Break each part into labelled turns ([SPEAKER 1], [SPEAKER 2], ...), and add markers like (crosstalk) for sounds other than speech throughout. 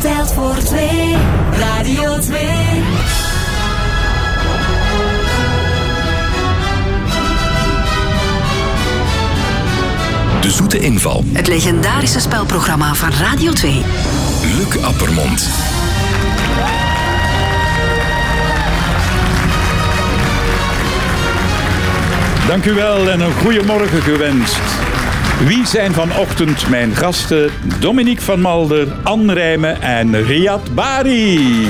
[SPEAKER 1] Geld voor twee. Radio 2.
[SPEAKER 2] De zoete inval.
[SPEAKER 3] Het legendarische spelprogramma van Radio 2.
[SPEAKER 2] Luc Appermond.
[SPEAKER 4] Dank u wel en een goeiemorgen gewenst. Wie zijn vanochtend mijn gasten? Dominique van Malder, Anne Rijmen en Riyad Bari.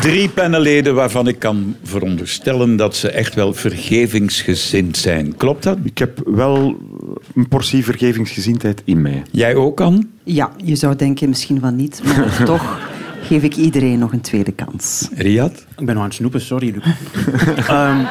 [SPEAKER 4] Drie panelleden waarvan ik kan veronderstellen dat ze echt wel vergevingsgezind zijn. Klopt dat?
[SPEAKER 5] Ik heb wel een portie vergevingsgezindheid in mij.
[SPEAKER 4] Jij ook, Anne?
[SPEAKER 6] Ja, je zou denken misschien van niet,
[SPEAKER 4] (laughs)
[SPEAKER 6] maar toch geef ik iedereen nog een tweede kans.
[SPEAKER 4] Riyad?
[SPEAKER 7] Ik ben nog aan het snoepen, sorry, Luc. (laughs) Ehm,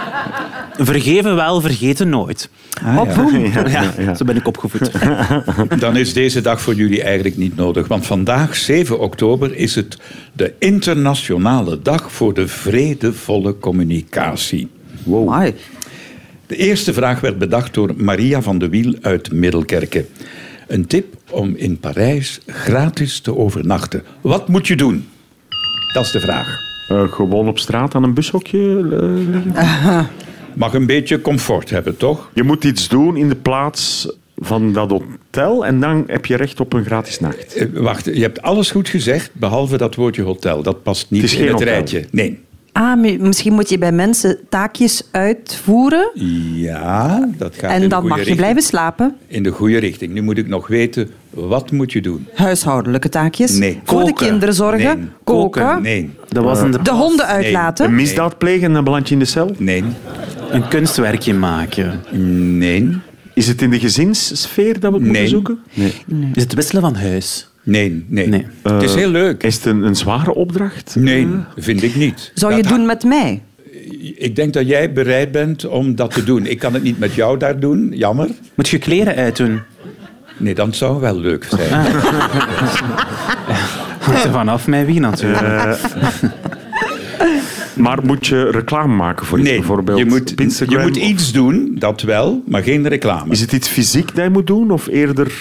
[SPEAKER 7] vergeven wel, vergeten nooit.
[SPEAKER 6] oh, boem.
[SPEAKER 7] Ah, (laughs) Ja, Zo ben ik opgevoed. (laughs)
[SPEAKER 4] Dan is deze dag voor jullie eigenlijk niet nodig. Want vandaag, 7 oktober, is het de Internationale Dag voor de Vredevolle Communicatie.
[SPEAKER 6] Amai.
[SPEAKER 4] De eerste vraag werd bedacht door Maria van de Wiel uit Middelkerken. Een tip om in Parijs gratis te overnachten. Wat moet je doen? Dat is de vraag.
[SPEAKER 5] Eh, gewoon op straat aan een bushokje eh, liggen.
[SPEAKER 4] Mag een beetje comfort hebben, toch?
[SPEAKER 5] Je moet iets doen in de plaats van dat hotel en dan heb je recht op een gratis nacht.
[SPEAKER 4] Eh, wacht, je hebt alles goed gezegd, behalve dat woordje hotel. Dat past niet
[SPEAKER 5] Het is
[SPEAKER 4] in
[SPEAKER 5] geen
[SPEAKER 4] het
[SPEAKER 5] hotel.
[SPEAKER 4] rijtje. Nee.
[SPEAKER 6] Ah, mi- misschien moet je bij mensen taakjes uitvoeren
[SPEAKER 4] Ja, dat gaat in
[SPEAKER 6] en
[SPEAKER 4] de goede
[SPEAKER 6] dan mag je
[SPEAKER 4] richting.
[SPEAKER 6] blijven slapen.
[SPEAKER 4] in de goede richting. Nu moet ik nog weten, wat moet je doen?
[SPEAKER 6] Huishoudelijke taakjes.
[SPEAKER 4] Nee.
[SPEAKER 6] Voor de
[SPEAKER 4] Koken.
[SPEAKER 6] kinderen zorgen.
[SPEAKER 4] Nee.
[SPEAKER 6] Koken.
[SPEAKER 4] Nee,
[SPEAKER 7] Dat was een,
[SPEAKER 6] De honden uitlaten.
[SPEAKER 5] Een misdaad plegen en dan beland je in de cel.
[SPEAKER 4] nee,
[SPEAKER 7] een kunstwerkje maken.
[SPEAKER 4] nee,
[SPEAKER 5] Is het in de gezinssfeer dat we het
[SPEAKER 4] Nee.
[SPEAKER 5] moeten zoeken? Eh, Nee.
[SPEAKER 7] Is het wisselen van huis?
[SPEAKER 4] nee, nee.
[SPEAKER 7] Nee.
[SPEAKER 4] Het is heel leuk.
[SPEAKER 5] Is het een, een zware opdracht?
[SPEAKER 4] Nee, vind ik niet.
[SPEAKER 6] Zou je
[SPEAKER 4] Dat-
[SPEAKER 6] doen met mij?
[SPEAKER 4] Ik denk dat jij bereid bent om dat te doen. Ik kan het niet met jou daar doen, jammer.
[SPEAKER 7] Moet je kleren (laughs) uitdoen?
[SPEAKER 4] Nee, dan zou wel leuk zijn.
[SPEAKER 7] Hangt er vanaf met wie natuurlijk.
[SPEAKER 5] Maar moet je reclame maken voor iets
[SPEAKER 4] Nee,
[SPEAKER 5] bijvoorbeeld?
[SPEAKER 4] je moet,
[SPEAKER 5] op Instagram?
[SPEAKER 4] je moet
[SPEAKER 5] Of-
[SPEAKER 4] iets doen, dat wel, maar geen reclame.
[SPEAKER 5] Is het iets fysiek dat je moet doen of eerder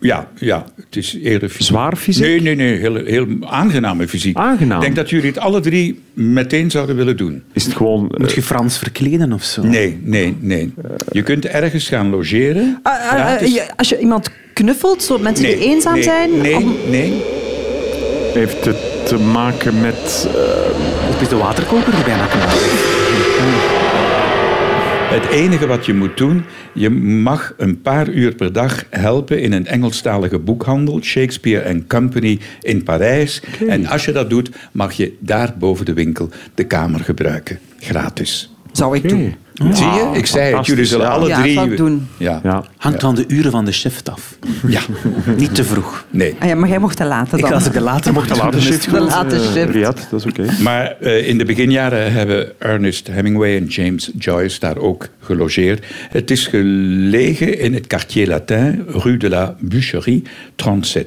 [SPEAKER 4] Ja, ja, het is eerder fysiek.
[SPEAKER 5] zwaar fysiek?
[SPEAKER 4] Nee, nee, nee, heel, heel aangename fysiek.
[SPEAKER 5] Aangenaam.
[SPEAKER 4] Ik denk dat jullie het alle drie meteen zouden willen doen.
[SPEAKER 5] Is het gewoon... eh,
[SPEAKER 7] Moet je Frans verkleden of zo?
[SPEAKER 4] Nee, nee, nee. Je kunt ergens gaan logeren.
[SPEAKER 6] Ah, ah, ah,
[SPEAKER 4] gratis.
[SPEAKER 6] je- als je iemand knuffelt, zo mensen die eenzaam
[SPEAKER 4] nee,
[SPEAKER 6] zijn. Ah, Oh.
[SPEAKER 4] Nee,
[SPEAKER 6] om-
[SPEAKER 4] nee.
[SPEAKER 5] Heeft het te maken met... eh,
[SPEAKER 7] Of is de waterkoker er bijna klaar?
[SPEAKER 4] Het enige wat je moet doen, je mag een paar uur per dag helpen in een Engelstalige boekhandel, Shakespeare and Company in Parijs. En als je dat doet, mag je daar boven de winkel de kamer gebruiken. Gratis.
[SPEAKER 6] Zou ik doen.
[SPEAKER 4] Zie je? Ik zei het,
[SPEAKER 5] Ah, fantastisch,
[SPEAKER 4] jullie zullen
[SPEAKER 5] ja.
[SPEAKER 4] alle
[SPEAKER 6] Ja,
[SPEAKER 4] drie...
[SPEAKER 6] zou ik doen.
[SPEAKER 4] Ja.
[SPEAKER 5] ja.
[SPEAKER 7] Hangt van de uren van de shift (laughs) af.
[SPEAKER 4] Ja.
[SPEAKER 7] Niet te vroeg.
[SPEAKER 4] Nee.
[SPEAKER 6] Ah ja, maar jij mocht te laten
[SPEAKER 7] Ik,
[SPEAKER 6] dan.
[SPEAKER 7] als ik de later mocht
[SPEAKER 5] De late shift.
[SPEAKER 6] De late
[SPEAKER 5] eh,
[SPEAKER 6] shift.
[SPEAKER 5] Riyad, dat is oké.
[SPEAKER 4] Maar eh, in de beginjaren hebben Ernest Hemingway en James Joyce daar ook gelogeerd. Het is gelegen in het quartier latin, rue de la Boucherie,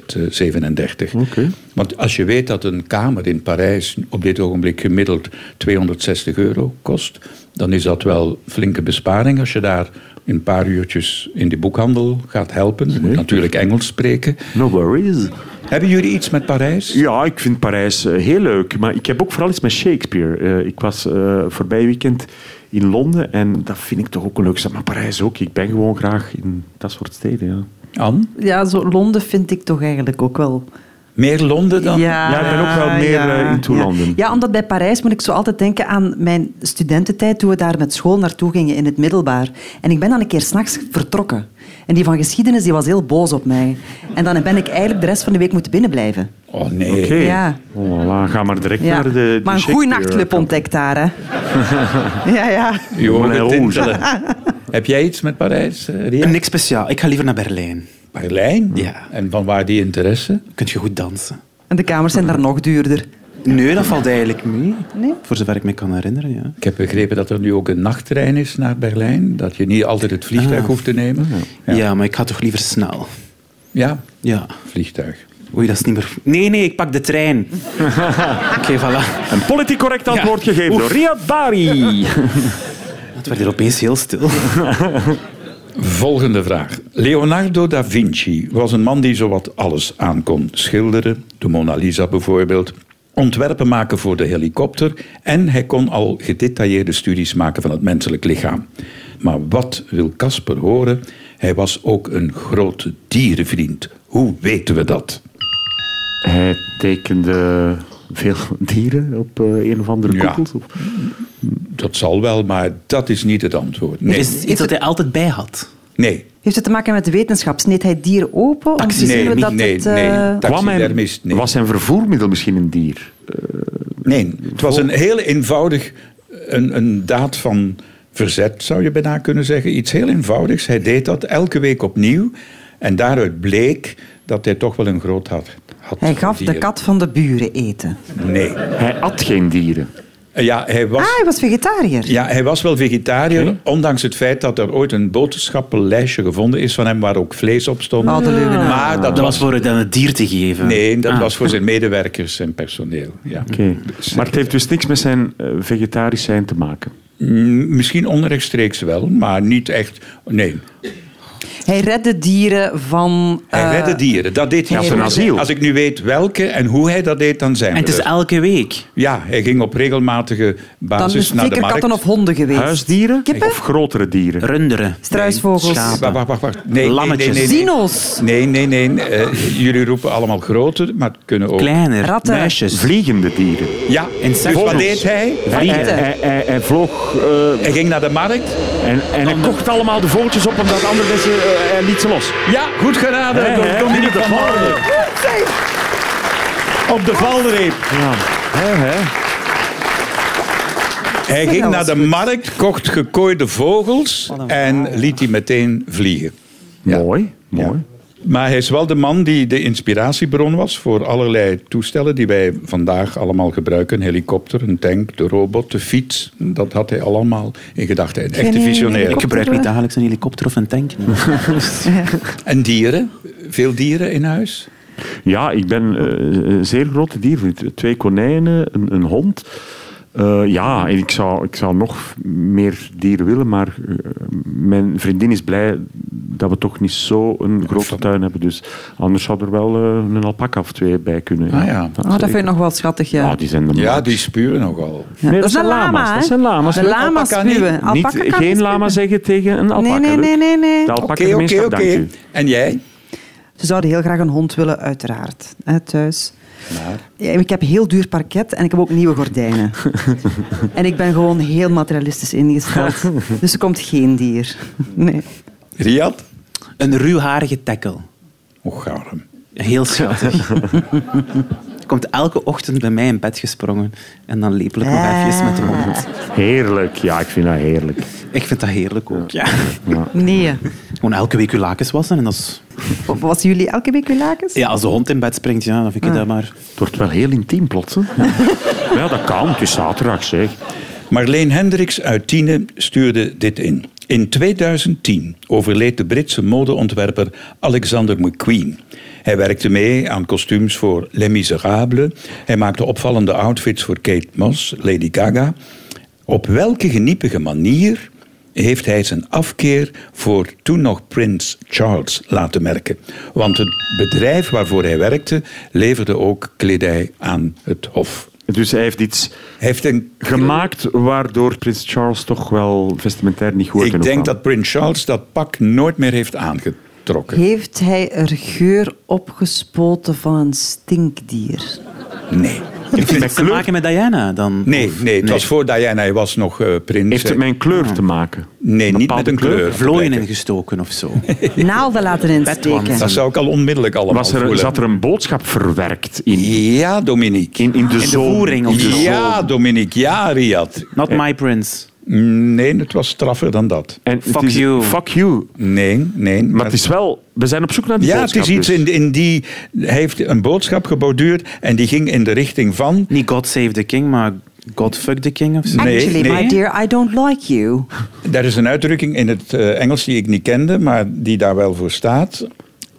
[SPEAKER 4] 3737. Want als je weet dat een kamer in Parijs op dit ogenblik gemiddeld 260 euro kost, dan is dat wel flinke besparing als je daar een paar uurtjes in de boekhandel gaat helpen. Je moet natuurlijk Engels spreken.
[SPEAKER 5] No worries.
[SPEAKER 4] Hebben jullie iets met Parijs?
[SPEAKER 5] Ja, ik vind Parijs eh, heel leuk. Maar ik heb ook vooral iets met Shakespeare. Eh, ik was eh voorbij weekend in Londen en dat vind ik toch ook een leuk stad. Maar Parijs ook. Ik ben gewoon graag in dat soort steden. Ja,
[SPEAKER 4] Anne?
[SPEAKER 6] Ja, zo Londen vind ik toch eigenlijk ook wel.
[SPEAKER 4] Meer Londen dan?
[SPEAKER 5] ja ik ben ook wel meer eh, in
[SPEAKER 6] ja.
[SPEAKER 5] Toelanden.
[SPEAKER 6] Ja, omdat bij Parijs moet ik zo altijd denken aan mijn studententijd toen we daar met school naartoe gingen in het middelbaar. En ik ben dan een keer s'nachts vertrokken. En die van geschiedenis die was heel boos op mij. En dan ben ik eigenlijk de rest van de week moeten binnenblijven.
[SPEAKER 4] Oh nee.
[SPEAKER 5] Oké.
[SPEAKER 6] Ja.
[SPEAKER 5] Oh, la, ga maar direct
[SPEAKER 6] Ja.
[SPEAKER 5] naar de, de
[SPEAKER 6] maar een goede
[SPEAKER 5] Shakespeare. eh,
[SPEAKER 6] nachtclub ontdekt daar,
[SPEAKER 5] (laughs)
[SPEAKER 6] hè. ja, ja.
[SPEAKER 4] Je
[SPEAKER 5] Moulin
[SPEAKER 4] ogen
[SPEAKER 5] Rouge.
[SPEAKER 4] tintelen. (laughs) Heb jij iets met Parijs, eh, Ria?
[SPEAKER 7] Niks speciaal. Ik ga liever naar Berlijn.
[SPEAKER 4] Berlijn?
[SPEAKER 7] Ja.
[SPEAKER 4] En van waar die interesse?
[SPEAKER 7] Kunt je goed dansen?
[SPEAKER 6] En de kamers zijn daar nog duurder.
[SPEAKER 7] Nee, dat valt eigenlijk mee. Voor zover ik me kan herinneren, ja.
[SPEAKER 4] Ik heb begrepen dat er nu ook een nachttrein is naar Berlijn. Dat je niet altijd het vliegtuig
[SPEAKER 7] Ah.
[SPEAKER 4] hoeft te nemen.
[SPEAKER 7] ja. maar ik ga toch liever snel.
[SPEAKER 4] Ja,
[SPEAKER 7] Ja.
[SPEAKER 4] vliegtuig.
[SPEAKER 7] Oei, dat is niet meer... Nee, nee, ik pak de
[SPEAKER 4] (laughs)
[SPEAKER 7] trein. Oké, voilà.
[SPEAKER 5] Een politiek correct antwoord gegeven door Riyad Bari.
[SPEAKER 7] Het werd hier opeens heel stil.
[SPEAKER 4] Volgende vraag. Leonardo da Vinci was een man die zowat alles aan kon. Schilderen, de Mona Lisa bijvoorbeeld, ontwerpen maken voor de helikopter en hij kon al gedetailleerde studies maken van het menselijk lichaam. Maar wat wil Casper horen? Hij was ook een grote dierenvriend. Hoe weten we dat?
[SPEAKER 5] Hij tekende veel (laughs) dieren op eh, een of andere
[SPEAKER 4] Ja.
[SPEAKER 5] koepel.
[SPEAKER 4] Dat zal wel, maar dat is niet het antwoord. Nee,
[SPEAKER 7] Is het iets dat hij altijd bij had?
[SPEAKER 4] nee,
[SPEAKER 6] Heeft het te maken met de wetenschap? Sneed hij dieren open? Om te
[SPEAKER 7] Taxidermie,
[SPEAKER 6] zien
[SPEAKER 4] nee,
[SPEAKER 6] dat
[SPEAKER 4] nee,
[SPEAKER 6] het, eh,
[SPEAKER 4] nee.
[SPEAKER 5] Kwam hij-
[SPEAKER 4] Taxidermist, nee.
[SPEAKER 5] Was zijn vervoermiddel misschien een dier?
[SPEAKER 4] Nee, het was een heel eenvoudig, een, een daad van verzet zou je bijna kunnen zeggen. Iets heel eenvoudigs. Hij deed dat elke week opnieuw. En daaruit bleek dat hij toch wel een groot hart had.
[SPEAKER 6] Hij
[SPEAKER 4] voor
[SPEAKER 6] gaf de
[SPEAKER 4] dieren.
[SPEAKER 6] kat van de buren eten.
[SPEAKER 4] Nee.
[SPEAKER 5] Hij at geen dieren.
[SPEAKER 4] Ja, hij was...
[SPEAKER 6] Ah, hij was vegetariër.
[SPEAKER 4] Ja, hij was wel vegetariër, ondanks het feit dat er ooit een boodschappenlijstje gevonden is van hem waar ook vlees op stond.
[SPEAKER 6] Oh, de leugenaar.
[SPEAKER 4] Maar dat
[SPEAKER 7] Dat was
[SPEAKER 4] was...
[SPEAKER 7] voor het aan het dier te geven.
[SPEAKER 4] Nee, dat
[SPEAKER 7] Ah.
[SPEAKER 4] was voor zijn medewerkers en personeel. Ja.
[SPEAKER 5] Oké. Maar het heeft dus niks met zijn eh, vegetarisch zijn te maken.
[SPEAKER 4] Mm, Misschien onrechtstreeks wel, maar niet echt... Nee,
[SPEAKER 6] Hij redde dieren van...
[SPEAKER 4] Hij
[SPEAKER 6] eh,
[SPEAKER 4] redde dieren, dat deed hij.
[SPEAKER 5] Ja, voor een asiel.
[SPEAKER 4] Als ik nu weet welke en hoe hij dat deed, dan zijn
[SPEAKER 7] En het
[SPEAKER 4] we
[SPEAKER 7] is
[SPEAKER 4] er.
[SPEAKER 7] elke week.
[SPEAKER 4] Ja, hij ging op regelmatige
[SPEAKER 5] Ah, dus
[SPEAKER 6] Dan
[SPEAKER 4] basis
[SPEAKER 6] is
[SPEAKER 5] nou,
[SPEAKER 6] het
[SPEAKER 4] naar de
[SPEAKER 6] zeker
[SPEAKER 4] markt.
[SPEAKER 6] katten of honden geweest.
[SPEAKER 5] Huisdieren
[SPEAKER 6] Kippen?
[SPEAKER 5] of grotere dieren?
[SPEAKER 7] Runderen.
[SPEAKER 6] Struisvogels.
[SPEAKER 7] Schaap.
[SPEAKER 4] Ah, Wacht, wacht, wacht, wacht. Nee, nee, nee,
[SPEAKER 7] Lammetjes.
[SPEAKER 4] nee, nee.
[SPEAKER 6] Dino's.
[SPEAKER 4] Nee, nee, nee. Eh, jullie roepen allemaal grote, maar het kunnen ook...
[SPEAKER 7] Kleiner.
[SPEAKER 6] Ratten.
[SPEAKER 7] Muisjes.
[SPEAKER 5] Vliegende dieren.
[SPEAKER 4] Ja,
[SPEAKER 7] Insecten.
[SPEAKER 4] dus wat
[SPEAKER 7] Vogels.
[SPEAKER 4] deed hij?
[SPEAKER 5] Hij,
[SPEAKER 7] Vliegen.
[SPEAKER 5] hij, hij- hij vloog eh,
[SPEAKER 4] Hij ging naar de markt.
[SPEAKER 5] en, en hij kocht allemaal de vogeltjes op omdat andere mensen eh, hij liet ze los.
[SPEAKER 4] Ja, goed geraden
[SPEAKER 5] Hij-
[SPEAKER 4] door
[SPEAKER 5] hij
[SPEAKER 4] Dominique
[SPEAKER 5] liep
[SPEAKER 4] van
[SPEAKER 5] op de
[SPEAKER 4] Molen. Op de valreep.
[SPEAKER 5] Ja. Hè, hè.
[SPEAKER 4] Hij ging
[SPEAKER 6] Nou, dat
[SPEAKER 4] naar
[SPEAKER 6] was
[SPEAKER 4] de markt, kocht gekooide vogels en liet die meteen vliegen.
[SPEAKER 5] Mooi, mooi.
[SPEAKER 4] Maar hij is wel de man die de inspiratiebron was voor allerlei toestellen die wij vandaag allemaal gebruiken. Een helikopter, een tank, de robot, de fiets. Dat had hij allemaal in gedachten. Een echte
[SPEAKER 6] nee,
[SPEAKER 4] visionair.
[SPEAKER 7] Ik gebruik niet dagelijks een helikopter of een tank. nee.
[SPEAKER 4] (laughs) En dieren? Veel dieren in huis?
[SPEAKER 5] Ja, ik ben eh, een zeer grote diervriend. Twee konijnen, een, een hond. Eh, ja, en ik zou, ik zou nog meer dieren willen, maar eh, mijn vriendin is blij dat we toch niet zo'n grote tuin hebben. Dus anders zou er wel eh, een alpaca of twee bij kunnen.
[SPEAKER 4] Ah, ja.
[SPEAKER 6] Oh, dat vind ik nog wel schattig, ja.
[SPEAKER 5] Ah, die zijn de
[SPEAKER 4] Ja,
[SPEAKER 5] max.
[SPEAKER 4] die spuren nogal.
[SPEAKER 6] Ja.
[SPEAKER 5] Nee,
[SPEAKER 6] dat is een lama, hè?
[SPEAKER 5] Dat zijn lama's.
[SPEAKER 6] De lama's
[SPEAKER 4] Alpaca niet.
[SPEAKER 6] spuwen.
[SPEAKER 5] Niet,
[SPEAKER 6] Alpaca kan
[SPEAKER 5] geen
[SPEAKER 6] niet
[SPEAKER 5] lama
[SPEAKER 6] spuwen.
[SPEAKER 5] zeggen tegen een alpaca.
[SPEAKER 6] nee, nee,
[SPEAKER 5] Luc.
[SPEAKER 6] nee, nee.
[SPEAKER 5] De alpaca
[SPEAKER 4] Oké, oké,
[SPEAKER 5] gemeenschap, dank
[SPEAKER 4] oké.
[SPEAKER 5] u.
[SPEAKER 4] En jij?
[SPEAKER 6] Ze zouden heel graag een hond willen, uiteraard. Hè, thuis. Ja, ik heb heel duur parket en ik heb ook nieuwe
[SPEAKER 5] (laughs)
[SPEAKER 6] gordijnen. en ik ben gewoon heel materialistisch
[SPEAKER 5] (laughs)
[SPEAKER 6] ingesteld. dus er komt geen dier. Nee.
[SPEAKER 4] Riad?
[SPEAKER 7] Een ruwharige tackle.
[SPEAKER 4] Och, garm.
[SPEAKER 7] Heel
[SPEAKER 4] (laughs)
[SPEAKER 7] schattig. Komt elke ochtend bij mij in bed gesprongen. En dan lepel ik nog even met de
[SPEAKER 6] Ah.
[SPEAKER 7] hond.
[SPEAKER 5] Heerlijk, ja, ik vind dat heerlijk.
[SPEAKER 7] Ik vind dat heerlijk ook, ja.
[SPEAKER 6] Nee.
[SPEAKER 7] Gewoon elke week uw lakens wassen. En dat is-
[SPEAKER 6] Of Was jullie elke week weer lakens?
[SPEAKER 7] ja, als de hond in bed springt, ja, dan vind ik dat maar...
[SPEAKER 5] Het wordt wel heel intiem plots. Hè? Ja. Maar ja, dat kan. Het is zaterdag, zeg.
[SPEAKER 4] Marleen Hendricks uit Tiene stuurde dit in. In 2010 overleed de Britse modeontwerper Alexander McQueen. Hij werkte mee aan kostuums voor Les Miserables. Hij maakte opvallende outfits voor Kate Moss, Lady Gaga. Op welke geniepige manier heeft hij zijn afkeer voor toen nog prins Charles laten merken? Want het bedrijf waarvoor hij werkte leverde ook kledij aan het hof.
[SPEAKER 5] Dus hij heeft iets
[SPEAKER 4] Hij heeft een
[SPEAKER 5] gemaakt waardoor prins Charles toch wel vestimentair niet goed
[SPEAKER 4] Ik denk dat Prins Charles dat pak nooit meer heeft aangetrokken.
[SPEAKER 6] Heeft hij er geur opgespoten van een
[SPEAKER 7] (laughs)
[SPEAKER 6] stinkdier?
[SPEAKER 4] Nee.
[SPEAKER 7] Heeft het te maken met Diana dan?
[SPEAKER 4] Nee,
[SPEAKER 7] Of-
[SPEAKER 4] nee, het was voor Diana, hij was nog eh, prins.
[SPEAKER 5] Heeft het
[SPEAKER 4] hè.
[SPEAKER 5] met een kleur te maken?
[SPEAKER 4] Nee, niet met een kleur.
[SPEAKER 7] Vlooien ingestoken of zo.
[SPEAKER 6] Naalden laten
[SPEAKER 7] Bedwans.
[SPEAKER 6] insteken.
[SPEAKER 4] Dat zou ik al onmiddellijk allemaal
[SPEAKER 5] Was er,
[SPEAKER 4] voelen.
[SPEAKER 5] zat er een boodschap verwerkt in,
[SPEAKER 4] Ja, Dominique.
[SPEAKER 5] in, in de
[SPEAKER 7] de
[SPEAKER 5] zoon?
[SPEAKER 7] voering of zo.
[SPEAKER 4] Ja, Dominique. Ja, Riyad.
[SPEAKER 7] Not my prince.
[SPEAKER 4] Nee, het was straffer dan dat.
[SPEAKER 5] En het
[SPEAKER 7] Fuck
[SPEAKER 5] is-
[SPEAKER 7] you.
[SPEAKER 5] Fuck you.
[SPEAKER 4] Nee, nee.
[SPEAKER 5] Maar het is wel... We zijn op zoek naar die
[SPEAKER 4] Ja, het
[SPEAKER 5] boodschap.
[SPEAKER 4] is iets
[SPEAKER 5] dus.
[SPEAKER 4] in, in die... Hij heeft een boodschap gebouwd en die ging in de richting van...
[SPEAKER 7] Niet God save the king, maar God fuck the king of zo.
[SPEAKER 4] Nee,
[SPEAKER 6] Actually,
[SPEAKER 4] nee.
[SPEAKER 6] my dear, I don't like you.
[SPEAKER 4] Daar is een uitdrukking in het eh, Engels die ik niet kende, maar die daar wel voor staat.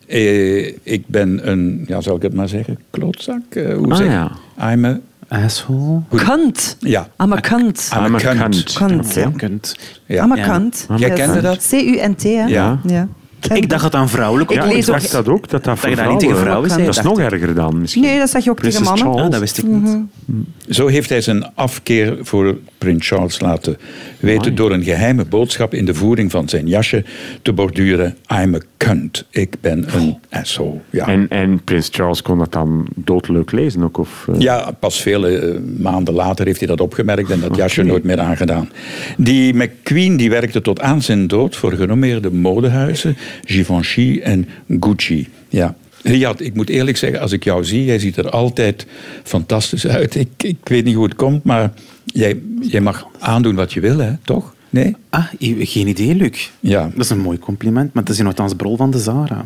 [SPEAKER 4] Eh, ik ben een, ja, zal ik het maar zeggen, klootzak? Eh, hoe
[SPEAKER 5] Ah,
[SPEAKER 4] zeg
[SPEAKER 5] ja.
[SPEAKER 4] I'm a,
[SPEAKER 7] Asshole.
[SPEAKER 6] Kunt.
[SPEAKER 4] ja,
[SPEAKER 6] I'm a kunt.
[SPEAKER 4] I'm
[SPEAKER 5] I'm
[SPEAKER 4] a
[SPEAKER 5] a
[SPEAKER 4] cunt.
[SPEAKER 5] cunt.
[SPEAKER 6] Kunt,
[SPEAKER 5] Oké.
[SPEAKER 6] ja.
[SPEAKER 7] Kunt.
[SPEAKER 4] ja.
[SPEAKER 6] I'm a
[SPEAKER 7] Ah, Ja.
[SPEAKER 6] cunt.
[SPEAKER 4] Jij
[SPEAKER 6] Yes.
[SPEAKER 4] kende dat?
[SPEAKER 6] C-U-N-T, hè?
[SPEAKER 4] Ja.
[SPEAKER 6] ja.
[SPEAKER 7] Ik dacht dat aan vrouwelijk
[SPEAKER 6] Ik
[SPEAKER 5] Ja,
[SPEAKER 6] lees
[SPEAKER 5] ik
[SPEAKER 6] ook-
[SPEAKER 5] dacht dat ook, dat dat
[SPEAKER 7] Dat
[SPEAKER 5] voor
[SPEAKER 7] je dat niet tegen vrouwen zei,
[SPEAKER 5] Dat is
[SPEAKER 7] dacht
[SPEAKER 5] nog erger dan misschien.
[SPEAKER 6] Nee, dat zeg je ook tegen
[SPEAKER 5] Prinses
[SPEAKER 6] mannen.
[SPEAKER 5] Charles.
[SPEAKER 7] Ah, dat wist ik niet.
[SPEAKER 4] Zo heeft hij zijn afkeer voor prins Charles laten weten door een geheime boodschap in de voering van zijn jasje te borduren. I'm a cunt. Ik ben een asshole. Ja.
[SPEAKER 5] En, en prins Charles kon dat dan doodleuk lezen ook? Of, eh,
[SPEAKER 4] Ja, pas vele eh, maanden later heeft hij dat opgemerkt en dat jasje nooit meer aangedaan. Die McQueen die werkte tot aan zijn dood voor genommeerde modehuizen Givenchy en Gucci. Ja. Riyad, ik moet eerlijk zeggen, als ik jou zie, jij ziet er altijd fantastisch uit. Ik, ik weet niet hoe het komt, maar jij, jij mag aandoen wat je wil, hè? toch? Nee?
[SPEAKER 7] Ah, i- geen idee, Luc.
[SPEAKER 4] Ja.
[SPEAKER 7] Dat is een mooi compliment, maar dat is in althans brol van de Zara.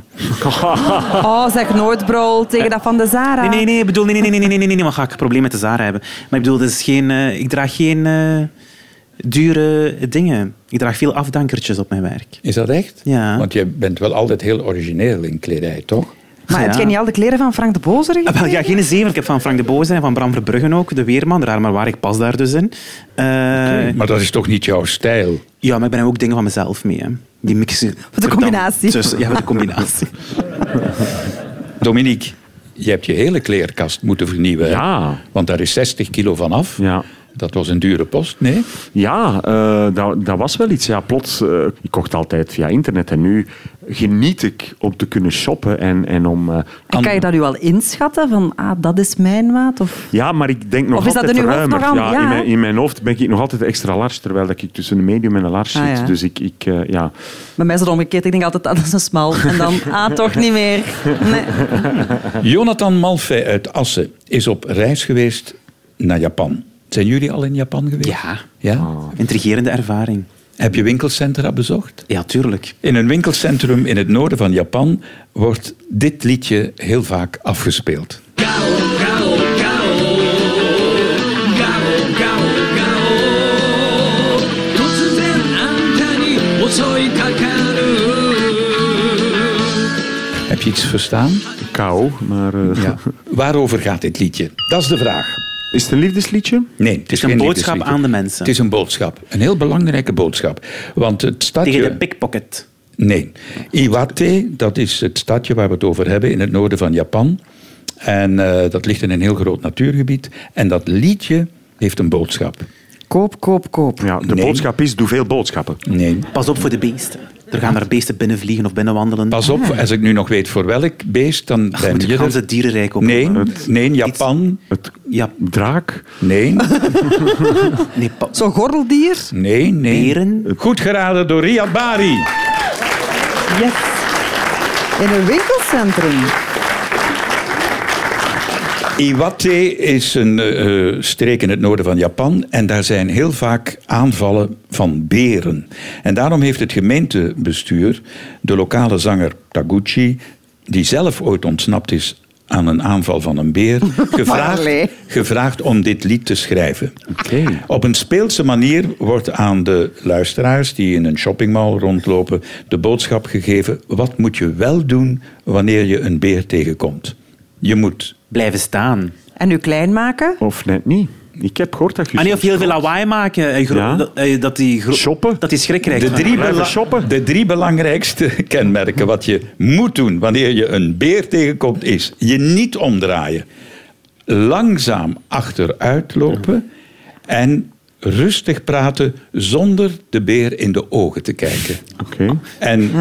[SPEAKER 6] Oh, zeg nooit brol tegen dat van de Zara.
[SPEAKER 7] Nee, nee, nee, ik bedoel, nee, nee, nee, nee, nee, nee, nee, maar ga ik een probleem met de Zara hebben. Maar ik bedoel, dat is geen, eh, ik draag geen eh, dure dingen. Ik draag veel afdankertjes op mijn werk.
[SPEAKER 4] Is dat echt?
[SPEAKER 7] Ja.
[SPEAKER 4] Want jij bent wel altijd heel origineel in kledij, toch?
[SPEAKER 6] Maar
[SPEAKER 7] Ja.
[SPEAKER 6] heb jij niet al de kleren van Frank de Bozer
[SPEAKER 7] Ah, wel,
[SPEAKER 6] gekregen?
[SPEAKER 7] Ja, geen zeven. Ik heb van Frank de Bozen en van Bram Verbruggen ook, de Weerman, raar maar waar, ik pas daar dus in. Eh,
[SPEAKER 4] Maar dat is toch niet jouw stijl?
[SPEAKER 7] Ja, maar ik ben ook dingen van mezelf mee. Hè. Die mixen.
[SPEAKER 6] Wat een combinatie.
[SPEAKER 7] Dus, ja, wat een combinatie.
[SPEAKER 4] Dominique, je hebt je hele kleerkast moeten vernieuwen. hè?
[SPEAKER 5] Ja.
[SPEAKER 4] Want daar is 60 kilo van af.
[SPEAKER 5] Ja.
[SPEAKER 4] Dat was een dure post, nee?
[SPEAKER 5] Ja, eh, dat, dat was wel iets. Ja, plots, eh, ik kocht altijd via internet en nu geniet ik om te kunnen shoppen en, en om... eh,
[SPEAKER 6] En kan je dat nu al inschatten? Van, ah, dat is mijn maat? Of...
[SPEAKER 5] ja, maar ik denk nog
[SPEAKER 6] Of is dat
[SPEAKER 5] altijd
[SPEAKER 6] in uw hoofd
[SPEAKER 5] ruimer.
[SPEAKER 6] nog
[SPEAKER 5] ja,
[SPEAKER 6] aan- ja,
[SPEAKER 5] in, mijn,
[SPEAKER 6] hè?
[SPEAKER 5] in mijn hoofd ben ik nog altijd extra large, terwijl dat ik tussen een medium en een large
[SPEAKER 6] Ah,
[SPEAKER 5] zit.
[SPEAKER 6] ja.
[SPEAKER 5] Dus ik, ik eh, ja.
[SPEAKER 6] Bij mij is het omgekeerd. Ik denk altijd, ah, dat is een smal. En dan, ah, toch niet meer. Nee.
[SPEAKER 4] Jonathan Malfay uit Assen is op reis geweest naar Japan. Zijn jullie al in Japan geweest?
[SPEAKER 7] Ja.
[SPEAKER 4] (laughs) ja?
[SPEAKER 7] Ah. Intrigerende ervaring.
[SPEAKER 4] Heb je winkelcentra bezocht?
[SPEAKER 7] Ja, tuurlijk.
[SPEAKER 4] In een winkelcentrum in het noorden van Japan wordt dit liedje heel vaak afgespeeld. Heb je iets verstaan?
[SPEAKER 5] Kou, maar... eh,
[SPEAKER 4] Ja. Waarover gaat dit liedje? Dat is de vraag.
[SPEAKER 5] (laughs) Is het een liefdesliedje?
[SPEAKER 4] Nee, het is,
[SPEAKER 7] een
[SPEAKER 4] geen
[SPEAKER 7] boodschap
[SPEAKER 4] liefdesliedje.
[SPEAKER 7] aan de mensen.
[SPEAKER 4] Het is een boodschap. Een heel belangrijke boodschap. Want het stadje...
[SPEAKER 7] Tegen de pickpocket.
[SPEAKER 4] Nee. Iwate, dat is het stadje waar we het over hebben in het noorden van Japan. En eh, dat ligt in een heel groot natuurgebied. En dat liedje heeft een boodschap.
[SPEAKER 6] Koop, koop, koop.
[SPEAKER 5] Ja, de
[SPEAKER 4] Nee.
[SPEAKER 5] boodschap is, doe veel boodschappen.
[SPEAKER 4] Nee.
[SPEAKER 7] Pas op voor de beesten. Er gaan daar beesten binnenvliegen of binnenwandelen.
[SPEAKER 4] Pas op, als ik nu nog weet voor welk beest, dan ben
[SPEAKER 7] moet Ah. ik
[SPEAKER 4] je
[SPEAKER 7] gans
[SPEAKER 4] er...
[SPEAKER 7] het dierenrijk op.
[SPEAKER 4] Nee, nee, in Japan.
[SPEAKER 5] Het
[SPEAKER 7] Ja,
[SPEAKER 5] draak,
[SPEAKER 4] Nee,
[SPEAKER 7] nee, pa-
[SPEAKER 6] Zo'n gordeldier.
[SPEAKER 4] nee, nee.
[SPEAKER 7] Beren?
[SPEAKER 4] Goed geraden door Riyad Bari.
[SPEAKER 6] Yes. In een winkelcentrum.
[SPEAKER 4] Iwate is een eh, eh, streek in het noorden van Japan en daar zijn heel vaak aanvallen van beren. En daarom heeft het gemeentebestuur de lokale zanger Taguchi, die zelf ooit ontsnapt is aan een aanval van een beer, gevraagd,
[SPEAKER 6] allee.
[SPEAKER 4] gevraagd om dit lied te schrijven.
[SPEAKER 5] Oké.
[SPEAKER 4] Op een speelse manier wordt aan de luisteraars die in een shoppingmall rondlopen de boodschap gegeven: wat moet je wel doen wanneer je een beer tegenkomt? Je moet
[SPEAKER 7] blijven staan.
[SPEAKER 5] Dus
[SPEAKER 6] En u klein maken.
[SPEAKER 5] of net niet. Ik heb gehoord dat je...
[SPEAKER 7] Ah, nee, of heel veel lawaai maken. eh, gro-
[SPEAKER 5] Ja.
[SPEAKER 7] dat, eh, dat die gro-
[SPEAKER 5] Shoppen.
[SPEAKER 7] Dat die schrikrijk
[SPEAKER 4] De
[SPEAKER 7] zijn.
[SPEAKER 4] drie,
[SPEAKER 5] blijven
[SPEAKER 4] bela-
[SPEAKER 5] shoppen.
[SPEAKER 4] de drie belangrijkste (laughs) kenmerken wat je moet doen wanneer je een beer tegenkomt is je niet omdraaien, langzaam achteruit lopen en rustig praten zonder de beer in de ogen te kijken.
[SPEAKER 5] Oké.
[SPEAKER 4] En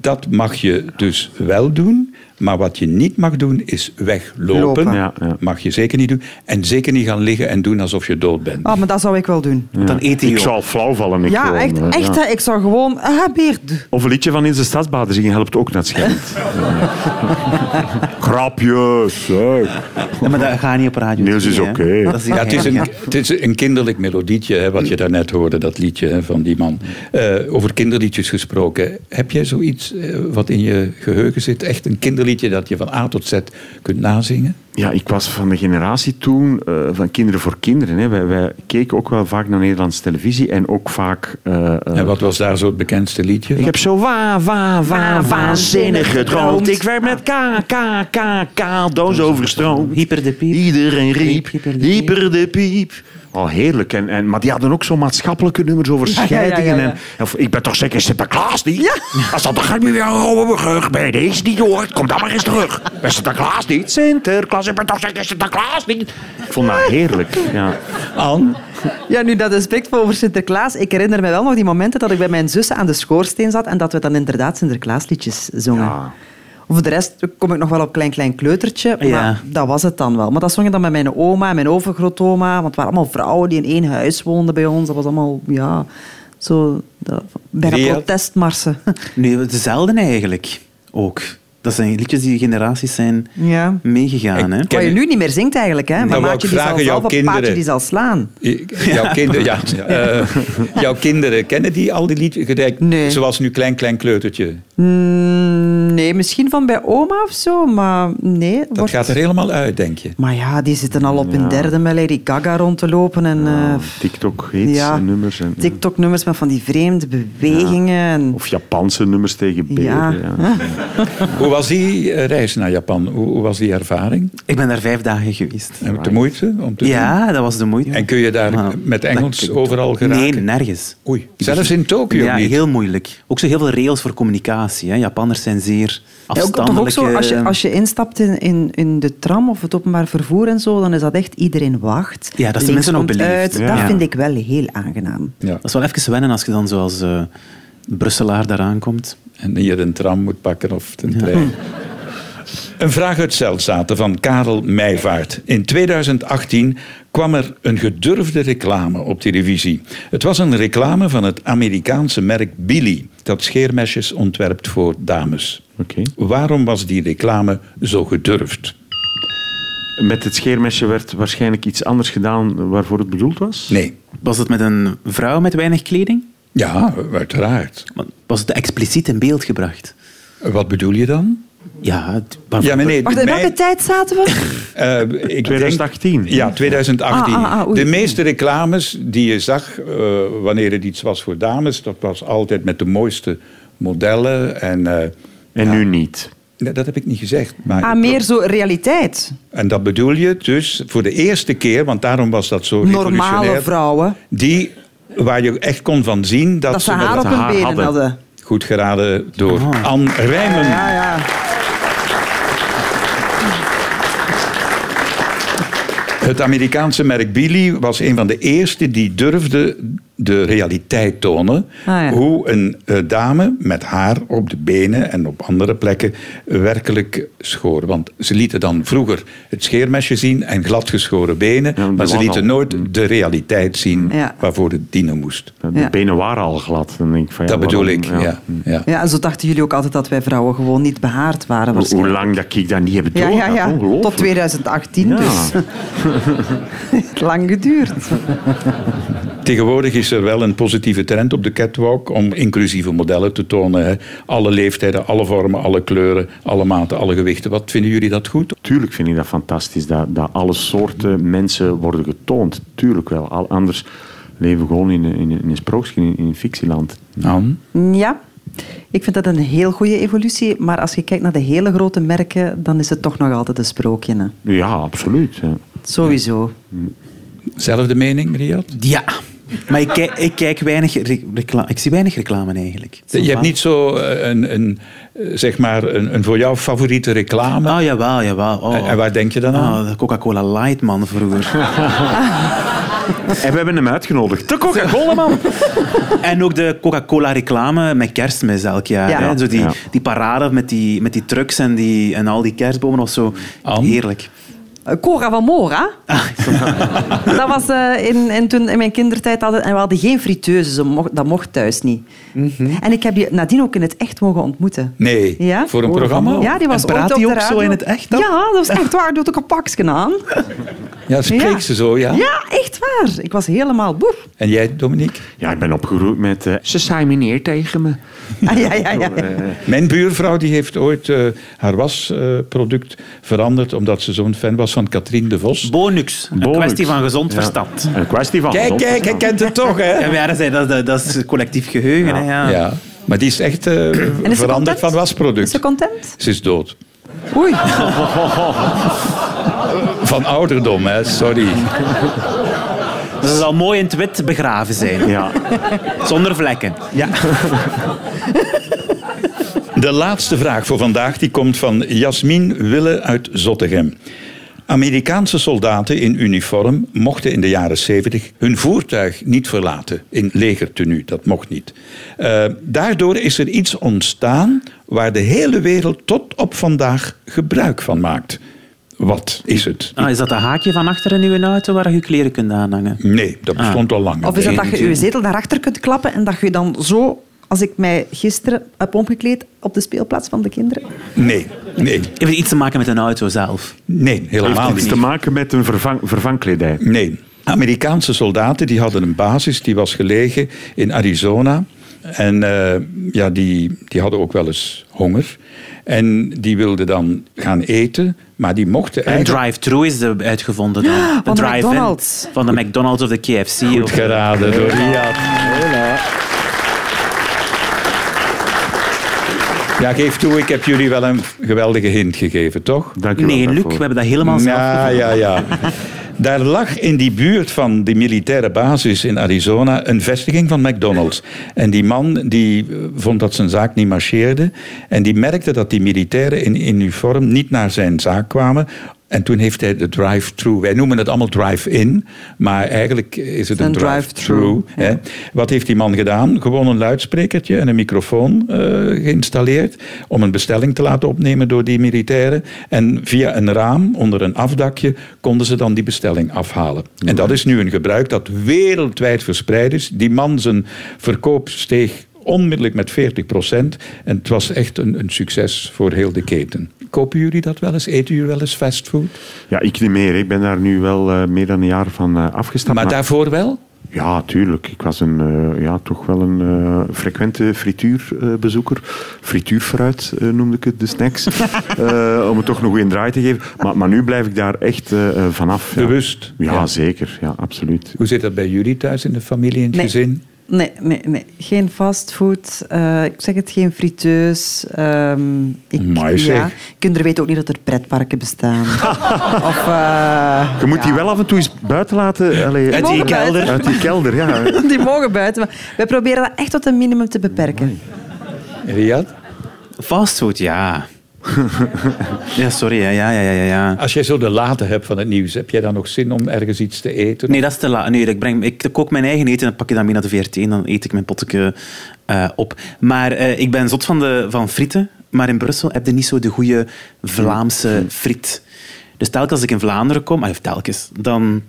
[SPEAKER 4] dat mag je dus wel doen, maar wat je niet mag doen is weglopen.
[SPEAKER 6] Lopen.
[SPEAKER 5] Ja, ja.
[SPEAKER 4] Mag je zeker niet doen. En zeker niet gaan liggen en doen alsof je dood bent.
[SPEAKER 6] Oh, maar dat zou ik wel doen.
[SPEAKER 7] Want Dan eet hij
[SPEAKER 5] Ik
[SPEAKER 7] je op.
[SPEAKER 5] zou flauw vallen. Ik
[SPEAKER 6] Ja,
[SPEAKER 5] gewoon,
[SPEAKER 6] echt.
[SPEAKER 5] eh,
[SPEAKER 6] echt
[SPEAKER 5] ja.
[SPEAKER 6] hè. Ik zou gewoon... Ah, beerd.
[SPEAKER 5] Of een liedje van In de Stadsbaden zingen helpt ook naar het schijnt. (laughs) Grapjes. zeg.
[SPEAKER 7] Nee, maar dat gaat niet op radio.
[SPEAKER 5] Niels is
[SPEAKER 7] twee, hè.
[SPEAKER 5] oké.
[SPEAKER 7] Dat is
[SPEAKER 4] Ja, het is, een,
[SPEAKER 7] ja.
[SPEAKER 4] het is een kinderlijk melodietje, hè, wat je daarnet hoorde, dat liedje hè, van die man. Eh, over kinderliedjes gesproken. Heb jij zoiets eh, wat in je geheugen zit? Echt een kinderliedje dat je van A tot Z kunt nazingen?
[SPEAKER 5] Ja, ik was van de generatie toen eh, van Kinderen voor Kinderen. Hè. Wij, wij keken ook wel vaak naar Nederlandse televisie en ook vaak... eh, eh,
[SPEAKER 4] En wat was daar zo het bekendste liedje?
[SPEAKER 5] ik heb zo wa, wa, wa, waanzinnig gedroomd. Ik werd met k, k, k, k, doos overstroomd.
[SPEAKER 7] Hyper de piep.
[SPEAKER 5] Iedereen riep,
[SPEAKER 7] Hyper de piep.
[SPEAKER 5] hyper de piep. al heerlijk. En, en, maar die hadden ook zo maatschappelijke nummers over scheidingen.
[SPEAKER 6] ja, ja.
[SPEAKER 5] En, of, ik ben toch zeker Sinterklaas niet? (laughs) Als dat dan ga ik me weer rug bij deze niet hoor. Kom dan maar eens terug. Ben Sinterklaas niet? Sinterklaas, ik ben toch zeker Sinterklaas niet? Ik vond dat heerlijk. Ja.
[SPEAKER 4] An?
[SPEAKER 6] Ja, nu dat aspect over Sinterklaas. Ik herinner me wel nog die momenten dat ik bij mijn zussen aan de schoorsteen zat en dat we dan inderdaad Sinterklaasliedjes zongen.
[SPEAKER 5] Ja.
[SPEAKER 6] Voor de rest kom ik nog wel op Klein Klein Kleutertje, maar
[SPEAKER 7] Ja.
[SPEAKER 6] dat was het dan wel. Maar dat zong ik dan met mijn oma en mijn overgrootoma, want het waren allemaal vrouwen die in één huis woonden bij ons. Dat was allemaal, ja, zo dat, bijna
[SPEAKER 4] Ria?
[SPEAKER 6] protestmarsen.
[SPEAKER 7] Nu, het is zelden eigenlijk ook. Dat zijn liedjes die generaties zijn
[SPEAKER 6] ja.
[SPEAKER 7] meegegaan. Hè?
[SPEAKER 4] Ik-
[SPEAKER 6] Wat je nu niet meer zingt eigenlijk, hè? Maar
[SPEAKER 4] wou
[SPEAKER 6] maatje
[SPEAKER 4] ik
[SPEAKER 6] die zal
[SPEAKER 4] vragen, jouw
[SPEAKER 6] zelf op paardje
[SPEAKER 4] kinderen.
[SPEAKER 6] die zal slaan.
[SPEAKER 4] Jouw kinderen, ja, eh, jouw kinderen, kennen die al die liedjes? Gedijk,
[SPEAKER 6] Nee.
[SPEAKER 4] Zoals nu Klein Klein Kleutertje.
[SPEAKER 6] Mm, nee, misschien van bij oma of zo, maar nee.
[SPEAKER 4] Dat
[SPEAKER 6] wordt-
[SPEAKER 4] gaat er helemaal uit, denk je.
[SPEAKER 6] Maar ja, die zitten al op hun derde met Lady Gaga rond te lopen. En, eh, pff,
[SPEAKER 5] TikTok-hits
[SPEAKER 6] ja,
[SPEAKER 5] en nummers. En, eh,
[SPEAKER 6] Tiktok-nummers met van die vreemde bewegingen. en-
[SPEAKER 5] Of Japanse nummers tegen beren.
[SPEAKER 6] Ja.
[SPEAKER 5] ja.
[SPEAKER 4] Hoe was die eh, reis naar Japan? Hoe, hoe was die ervaring?
[SPEAKER 7] Ik ben daar vijf dagen geweest.
[SPEAKER 4] En De moeite om te doen?
[SPEAKER 7] Ja, dat was de moeite.
[SPEAKER 4] En kun je daar
[SPEAKER 7] Maar
[SPEAKER 4] met
[SPEAKER 7] dat
[SPEAKER 4] Engels
[SPEAKER 7] kun-
[SPEAKER 4] overal geraken?
[SPEAKER 7] Nee, nergens.
[SPEAKER 4] Oei, zelfs in Tokio
[SPEAKER 7] ja,
[SPEAKER 4] niet?
[SPEAKER 7] heel moeilijk. Ook zo heel veel regels voor communicatie. Hè. Japanners zijn zeer
[SPEAKER 6] Ja, ook, toch ook
[SPEAKER 7] afstandelijk.
[SPEAKER 6] zo, als je,
[SPEAKER 7] eh,
[SPEAKER 6] als je instapt in, in, in de tram of het openbaar vervoer en zo, dan is dat echt iedereen wacht.
[SPEAKER 7] Ja, dat is
[SPEAKER 6] Links
[SPEAKER 7] de mensen ook
[SPEAKER 6] komt
[SPEAKER 7] beleefd.
[SPEAKER 6] uit.
[SPEAKER 5] Ja.
[SPEAKER 6] Dat
[SPEAKER 7] Ja.
[SPEAKER 6] vind ik wel heel aangenaam.
[SPEAKER 4] Ja.
[SPEAKER 7] Dat is wel even wennen als je dan zoals eh, Brusselaar daar aankomt.
[SPEAKER 4] En hier een tram moet pakken of een trein. Een vraag uit Zeldzaten van Karel Meijvaart. In 2018 kwam er een gedurfde reclame op televisie. Het was een reclame van het Amerikaanse merk Billy, dat scheermesjes ontwerpt voor dames.
[SPEAKER 5] Oké.
[SPEAKER 4] Waarom was die reclame zo gedurfd?
[SPEAKER 5] Met het scheermesje werd waarschijnlijk iets anders gedaan waarvoor het bedoeld was?
[SPEAKER 4] Nee.
[SPEAKER 7] Was het met een vrouw met weinig kleding?
[SPEAKER 4] Ja, uiteraard.
[SPEAKER 7] Want Was het expliciet in beeld gebracht?
[SPEAKER 4] Wat bedoel je dan?
[SPEAKER 7] Ja, het- waarvoor-
[SPEAKER 4] Ja, meneer,
[SPEAKER 6] Wacht, in
[SPEAKER 4] mij-
[SPEAKER 6] welke tijd zaten we?
[SPEAKER 5] (laughs)
[SPEAKER 4] Eh, ik denk-
[SPEAKER 5] 2018.
[SPEAKER 4] ja, 2018.
[SPEAKER 6] Ah, ah, ah, oei.
[SPEAKER 4] de meeste reclames die je zag eh, wanneer het iets was voor dames, dat was altijd met de mooiste modellen. En, eh,
[SPEAKER 5] En nu niet.
[SPEAKER 4] nee, dat heb ik niet gezegd. Maar
[SPEAKER 6] Ah, meer zo realiteit.
[SPEAKER 4] En dat bedoel je dus voor de eerste keer, want daarom was dat zo
[SPEAKER 6] Normale
[SPEAKER 4] revolutionair,
[SPEAKER 6] vrouwen.
[SPEAKER 4] Die waar je echt kon van zien dat,
[SPEAKER 6] Dat ze
[SPEAKER 4] met
[SPEAKER 6] haar
[SPEAKER 4] het
[SPEAKER 6] op hun
[SPEAKER 5] haar
[SPEAKER 6] benen
[SPEAKER 5] hadden.
[SPEAKER 6] hadden.
[SPEAKER 4] Goed geraden door Anne Rijmen.
[SPEAKER 6] Ja, ja.
[SPEAKER 4] Het Amerikaanse merk Billy was een van de eerste die durfde de realiteit tonen.
[SPEAKER 6] Ah, ja.
[SPEAKER 4] Hoe een eh, dame met haar op de benen en op andere plekken werkelijk schoor. Want ze lieten dan vroeger het scheermesje zien en gladgeschoren benen.
[SPEAKER 5] Ja, Mm.
[SPEAKER 4] maar
[SPEAKER 5] dat
[SPEAKER 4] ze
[SPEAKER 5] was
[SPEAKER 4] lieten
[SPEAKER 5] al.
[SPEAKER 4] nooit de realiteit zien
[SPEAKER 6] Ja.
[SPEAKER 4] waarvoor het dienen moest.
[SPEAKER 5] De
[SPEAKER 6] Ja.
[SPEAKER 5] benen waren al glad. Dan denk ik van, ja, Hm. Mm.
[SPEAKER 4] dat bedoel
[SPEAKER 5] waarom?
[SPEAKER 4] ik, ja. Ja.
[SPEAKER 6] Ja, en zo dachten jullie ook altijd dat wij vrouwen gewoon niet behaard waren.
[SPEAKER 5] Hoe, hoe
[SPEAKER 6] waarschijnlijk.
[SPEAKER 5] lang dat ik dat niet heb
[SPEAKER 6] Ja,
[SPEAKER 5] doorgehad.
[SPEAKER 6] ja, ja.
[SPEAKER 5] Ongelooflijk.
[SPEAKER 6] Tot 2018
[SPEAKER 5] Ja.
[SPEAKER 6] dus. (laughs) Lang geduurd.
[SPEAKER 4] Tegenwoordig is er wel een positieve trend op de catwalk om inclusieve modellen te tonen. Hè. Alle leeftijden, alle vormen, alle kleuren, alle maten, alle gewichten. Wat vinden jullie dat goed?
[SPEAKER 5] Tuurlijk vind ik dat fantastisch, dat, dat alle soorten mensen worden getoond. Tuurlijk wel. Al, anders leven we gewoon in, een- in, een- in een sprookje, in, in een fictieland.
[SPEAKER 4] Anne?
[SPEAKER 6] Ja, ik vind dat een heel goede evolutie. Maar als je kijkt naar de hele grote merken, dan is het toch nog altijd een sprookje. Hè?
[SPEAKER 5] Ja, absoluut. ja.
[SPEAKER 6] Sowieso.
[SPEAKER 4] Zelfde mening, Riyad?
[SPEAKER 7] Ja. Maar ik kijk, ik kijk weinig re- reclame. Ik zie weinig reclame eigenlijk.
[SPEAKER 4] Je hebt niet zo eh, een, een, eh, zeg maar een, een voor jou favoriete reclame.
[SPEAKER 7] Oh, jawel, jawel. Oh.
[SPEAKER 4] En- en waar denk je dan aan?
[SPEAKER 7] Oh, de Coca-Cola Light, man, vroeger.
[SPEAKER 4] (laughs)
[SPEAKER 5] En we hebben hem uitgenodigd. De Coca-Cola, man!
[SPEAKER 7] (laughs) en ook de Coca-Cola reclame met kerstmis elk jaar.
[SPEAKER 6] Ja.
[SPEAKER 7] Hè? Zo die,
[SPEAKER 5] Ja.
[SPEAKER 7] die parade met die, met die trucks en, die, en al die kerstbomen of zo.
[SPEAKER 4] Anne?
[SPEAKER 7] Heerlijk.
[SPEAKER 6] Eh, Cora van Mora.
[SPEAKER 7] (laughs)
[SPEAKER 6] dat was eh, in, in, toen, in mijn kindertijd. Hadden, en we hadden geen friteuses. dat mocht- Dat mocht thuis niet.
[SPEAKER 7] Mhm.
[SPEAKER 6] En ik heb je nadien ook in het echt mogen ontmoeten.
[SPEAKER 4] Nee,
[SPEAKER 6] Ja?
[SPEAKER 4] voor een programma?
[SPEAKER 6] Ja, die was
[SPEAKER 7] En praat
[SPEAKER 6] ooit op
[SPEAKER 7] die
[SPEAKER 6] de
[SPEAKER 7] ook zo
[SPEAKER 6] radio.
[SPEAKER 7] in het echt dan?
[SPEAKER 6] Ja, dat was echt waar. Doet ook een pakje aan.
[SPEAKER 7] (laughs)
[SPEAKER 4] Ja, spreekt
[SPEAKER 6] Ja.
[SPEAKER 4] ze zo, ja.
[SPEAKER 6] Ja, echt waar. Ik was helemaal boef.
[SPEAKER 4] En jij, Dominique?
[SPEAKER 5] Ja, ik ben opgegroeid met... eh, ze zei meneer tegen me.
[SPEAKER 6] Ah, ja, ja, ja.
[SPEAKER 4] Mijn buurvrouw die heeft ooit eh, haar wasproduct veranderd omdat ze zo'n fan was van Katrien de Vos.
[SPEAKER 7] Bonux. Een
[SPEAKER 5] Bonux.
[SPEAKER 7] kwestie van gezond
[SPEAKER 5] Ja.
[SPEAKER 7] verstand.
[SPEAKER 5] Een kwestie van...
[SPEAKER 4] Kijk,
[SPEAKER 5] gezond
[SPEAKER 4] kijk, hij
[SPEAKER 5] verstand.
[SPEAKER 4] kent het toch, hè?
[SPEAKER 7] Ja, maar ja, dat, is, dat, dat, dat is collectief geheugen. Hè, ja.
[SPEAKER 4] Ja, maar die is echt eh,
[SPEAKER 6] is ze
[SPEAKER 4] veranderd
[SPEAKER 6] content?
[SPEAKER 4] van wasproduct.
[SPEAKER 6] Is ze content?
[SPEAKER 4] Ze is dood.
[SPEAKER 6] Oei.
[SPEAKER 4] Van ouderdom, hè? Sorry.
[SPEAKER 7] ze zal mooi in het wit begraven zijn.
[SPEAKER 5] Ja.
[SPEAKER 7] Zonder vlekken.
[SPEAKER 4] De laatste vraag voor vandaag die komt van Jasmin Wille uit Zottegem. Amerikaanse soldaten in uniform mochten in de jaren 70 hun voertuig niet verlaten. In legertenue, dat mocht niet. Eh, daardoor is er iets ontstaan waar de hele wereld tot op vandaag gebruik van maakt. Wat is het?
[SPEAKER 7] Ah, is dat dat haakje van achteren in uw auto waar je kleren kunt aanhangen?
[SPEAKER 4] Nee, dat bestond al lang.
[SPEAKER 6] Ah. Of is dat
[SPEAKER 4] Nee.
[SPEAKER 6] dat je je zetel naar achter kunt klappen en dat je dan zo, als ik mij gisteren heb omgekleed op de speelplaats van de kinderen.
[SPEAKER 4] Nee, nee,
[SPEAKER 7] Heeft het iets te maken met een auto zelf?
[SPEAKER 4] nee, helemaal
[SPEAKER 5] Heeft iets
[SPEAKER 4] niet.
[SPEAKER 5] te maken met een vervang, vervangkledij.
[SPEAKER 4] Nee. Amerikaanse soldaten die hadden een basis die was gelegen in Arizona. En eh, ja, die, die hadden ook wel eens honger. En die wilden dan gaan eten, maar die mochten
[SPEAKER 7] Een
[SPEAKER 4] eigenlijk...
[SPEAKER 7] drive-thru is de uitgevonden dan. De
[SPEAKER 6] van de
[SPEAKER 7] drive-in
[SPEAKER 6] McDonald's.
[SPEAKER 7] Van de McDonald's of de KFC.
[SPEAKER 4] Goed
[SPEAKER 7] of-
[SPEAKER 4] geraden door Riyad. Ja, geef toe, ik heb jullie wel een geweldige hint gegeven, toch?
[SPEAKER 5] Dank u wel
[SPEAKER 7] Nee, Luc,
[SPEAKER 5] daarvoor.
[SPEAKER 7] we hebben dat helemaal zelf
[SPEAKER 4] Ja,
[SPEAKER 7] gedaan.
[SPEAKER 4] ja, ja. Daar lag in die buurt van die militaire basis in Arizona een vestiging van McDonald's. En die man die eh, vond dat zijn zaak niet marcheerde. En die merkte dat die militairen in, in uniform niet naar zijn zaak kwamen. En toen heeft hij de drive-thru. Wij noemen het allemaal drive-in, maar eigenlijk is het een,
[SPEAKER 6] Een
[SPEAKER 4] drive-thru.
[SPEAKER 6] drive-thru,
[SPEAKER 4] hè. Wat heeft die man gedaan? Gewoon een luidsprekertje en een microfoon eh, geïnstalleerd om een bestelling te laten opnemen door die militairen. En via een raam onder een afdakje konden ze dan die bestelling afhalen. En dat is nu een gebruik dat wereldwijd verspreid is. Die man zijn verkoop steeg onmiddellijk met 40 En het was echt een, een succes voor heel de keten. Kopen jullie dat wel eens? Eten jullie wel eens fastfood?
[SPEAKER 5] Ja, ik niet meer. Ik ben daar nu wel eh, meer dan een jaar van eh, afgestapt.
[SPEAKER 4] Maar
[SPEAKER 5] Maar-
[SPEAKER 4] daarvoor wel?
[SPEAKER 5] Ja, tuurlijk. Ik was een, eh, ja, toch wel een eh, frequente frituurbezoeker. Frituurfruit eh, noemde ik het, de snacks. Eh, om het toch nog een draai te geven. Maar, maar nu blijf ik daar echt eh, eh, vanaf. ja.
[SPEAKER 4] Bewust.
[SPEAKER 5] Ja,
[SPEAKER 4] Ja.
[SPEAKER 5] zeker. Ja, absoluut.
[SPEAKER 4] Hoe zit dat bij jullie thuis in de familie, in het
[SPEAKER 6] Nee.
[SPEAKER 4] gezin?
[SPEAKER 6] Nee, nee, nee. Geen fastfood. eh, ik zeg het, geen friteus. ehm ik,
[SPEAKER 4] Amai,
[SPEAKER 6] ja.
[SPEAKER 4] zeg.
[SPEAKER 6] Kinderen weten ook niet dat er pretparken
[SPEAKER 4] (laughs)
[SPEAKER 6] bestaan. of, eh,
[SPEAKER 5] Je moet die
[SPEAKER 6] ja.
[SPEAKER 5] wel af en toe eens buiten laten. Allee,
[SPEAKER 6] die mogen kelder. buiten.
[SPEAKER 5] Uit die kelder, ja.
[SPEAKER 6] Die mogen buiten. Maar wij proberen dat echt tot een minimum te beperken.
[SPEAKER 4] Riyad?
[SPEAKER 7] Fastfood, ja. ja, sorry. hè. Ja, ja, ja, ja, ja.
[SPEAKER 4] Als jij zo de late hebt van het nieuws, heb jij dan nog zin om ergens iets te eten?
[SPEAKER 7] Nee, dat is te laat. Nee, ik, breng, ik kook mijn eigen eten en pak ik dan mee naar de VRT en dan eet ik mijn potje eh, op. Maar eh, ik ben zot van, de, van frieten, maar in Brussel heb je niet zo de goede Vlaamse friet. Dus telkens als ik in Vlaanderen kom, ah, of telkens, dan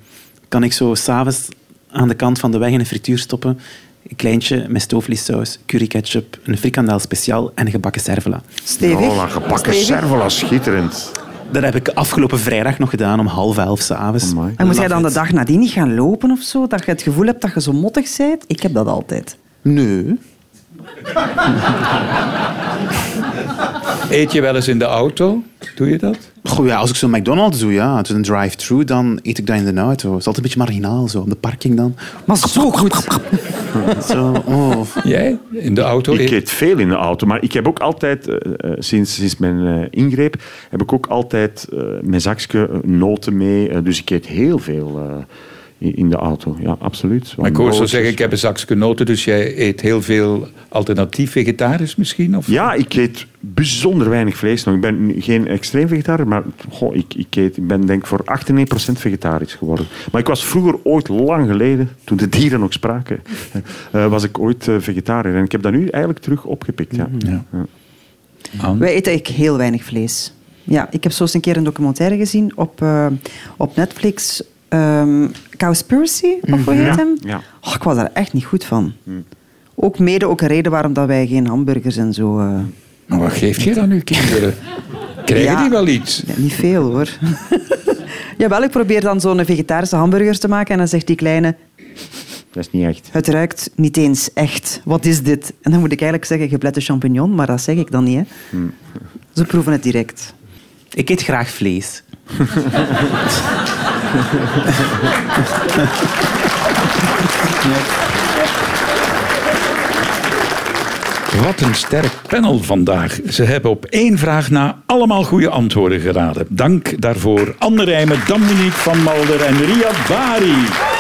[SPEAKER 7] kan ik zo s'avonds aan de kant van de weg in een frituur stoppen. Een kleintje met stoofvleessaus, curry ketchup, een frikandel speciaal en een gebakken servola.
[SPEAKER 6] Stevig.
[SPEAKER 5] Oh, dat gebakken
[SPEAKER 6] Stevig.
[SPEAKER 5] servola, schitterend.
[SPEAKER 7] Dat heb ik afgelopen vrijdag nog gedaan om half elf s'avonds.
[SPEAKER 5] Amai.
[SPEAKER 6] En moet jij
[SPEAKER 7] Love
[SPEAKER 6] dan de
[SPEAKER 7] it.
[SPEAKER 6] dag nadien niet gaan lopen of zo? Dat je het gevoel hebt dat je zo mottig bent? Ik heb dat altijd.
[SPEAKER 7] Nee.
[SPEAKER 4] Eet je wel eens in de auto? Doe je dat?
[SPEAKER 7] Goh, ja, als ik zo'n McDonald's doe, ja, het is een drive-thru, dan eet ik dat in de auto. Het is altijd een beetje marginaal, zo, op de parking (laughs) dan.
[SPEAKER 6] Maar zo goed.
[SPEAKER 7] Zo, oh.
[SPEAKER 4] Jij? In de auto?
[SPEAKER 5] Ik
[SPEAKER 4] eet-
[SPEAKER 5] eet veel in de auto, maar ik heb ook altijd, eh, eh, sinds, sinds mijn eh, ingreep, heb ik ook altijd eh, mijn zakje eh, noten mee. Eh, dus ik eet heel veel eh, in- in de auto. Ja, absoluut.
[SPEAKER 4] Maar ik hoor zo
[SPEAKER 5] Nootjes.
[SPEAKER 4] zeggen, ik heb een zakje noten, dus jij eet heel veel alternatief vegetarisch misschien? Of?
[SPEAKER 5] Ja, ik eet bijzonder weinig vlees nog. Ik ben nu geen extreem vegetariër, maar goh, ik, ik, eet, ik ben denk ik voor 98% vegetarisch geworden. Maar ik was vroeger ooit, lang geleden, toen de dieren nog spraken, (laughs) eh, was ik ooit eh, vegetariër. En ik heb dat nu eigenlijk terug opgepikt. Ja. Ja.
[SPEAKER 4] Aan?
[SPEAKER 6] Wij eten eigenlijk heel weinig vlees. Ja, ik heb zo eens een keer een documentaire gezien op, eh, op Netflix. ehm Cowspiracy, of hoe
[SPEAKER 5] Mhm.
[SPEAKER 6] heet
[SPEAKER 5] Ja,
[SPEAKER 6] hem?
[SPEAKER 5] ja. Mhm.
[SPEAKER 6] Oh, ik was daar echt niet goed van. Ook mede ook een reden waarom dat wij geen hamburgers en zo... eh,
[SPEAKER 4] Maar wat geef je dan nu kinderen? Krijgen
[SPEAKER 6] Ja.
[SPEAKER 4] die wel iets?
[SPEAKER 6] ja, niet veel, hoor. (laughs) Jawel, ik probeer dan zo'n vegetarische hamburger te maken en dan zegt die kleine...
[SPEAKER 5] Dat is niet echt.
[SPEAKER 6] Het ruikt niet eens echt. Wat is dit? En dan moet ik eigenlijk zeggen geplette champignon, maar dat zeg ik dan niet. Hè. Ze proeven het direct.
[SPEAKER 7] Ik eet graag vlees.
[SPEAKER 4] Wat een sterk panel vandaag. Ze hebben op één vraag na allemaal goede antwoorden geraden. Dank daarvoor Anne Rijmen, Dominique van Malder en Riyad Bari.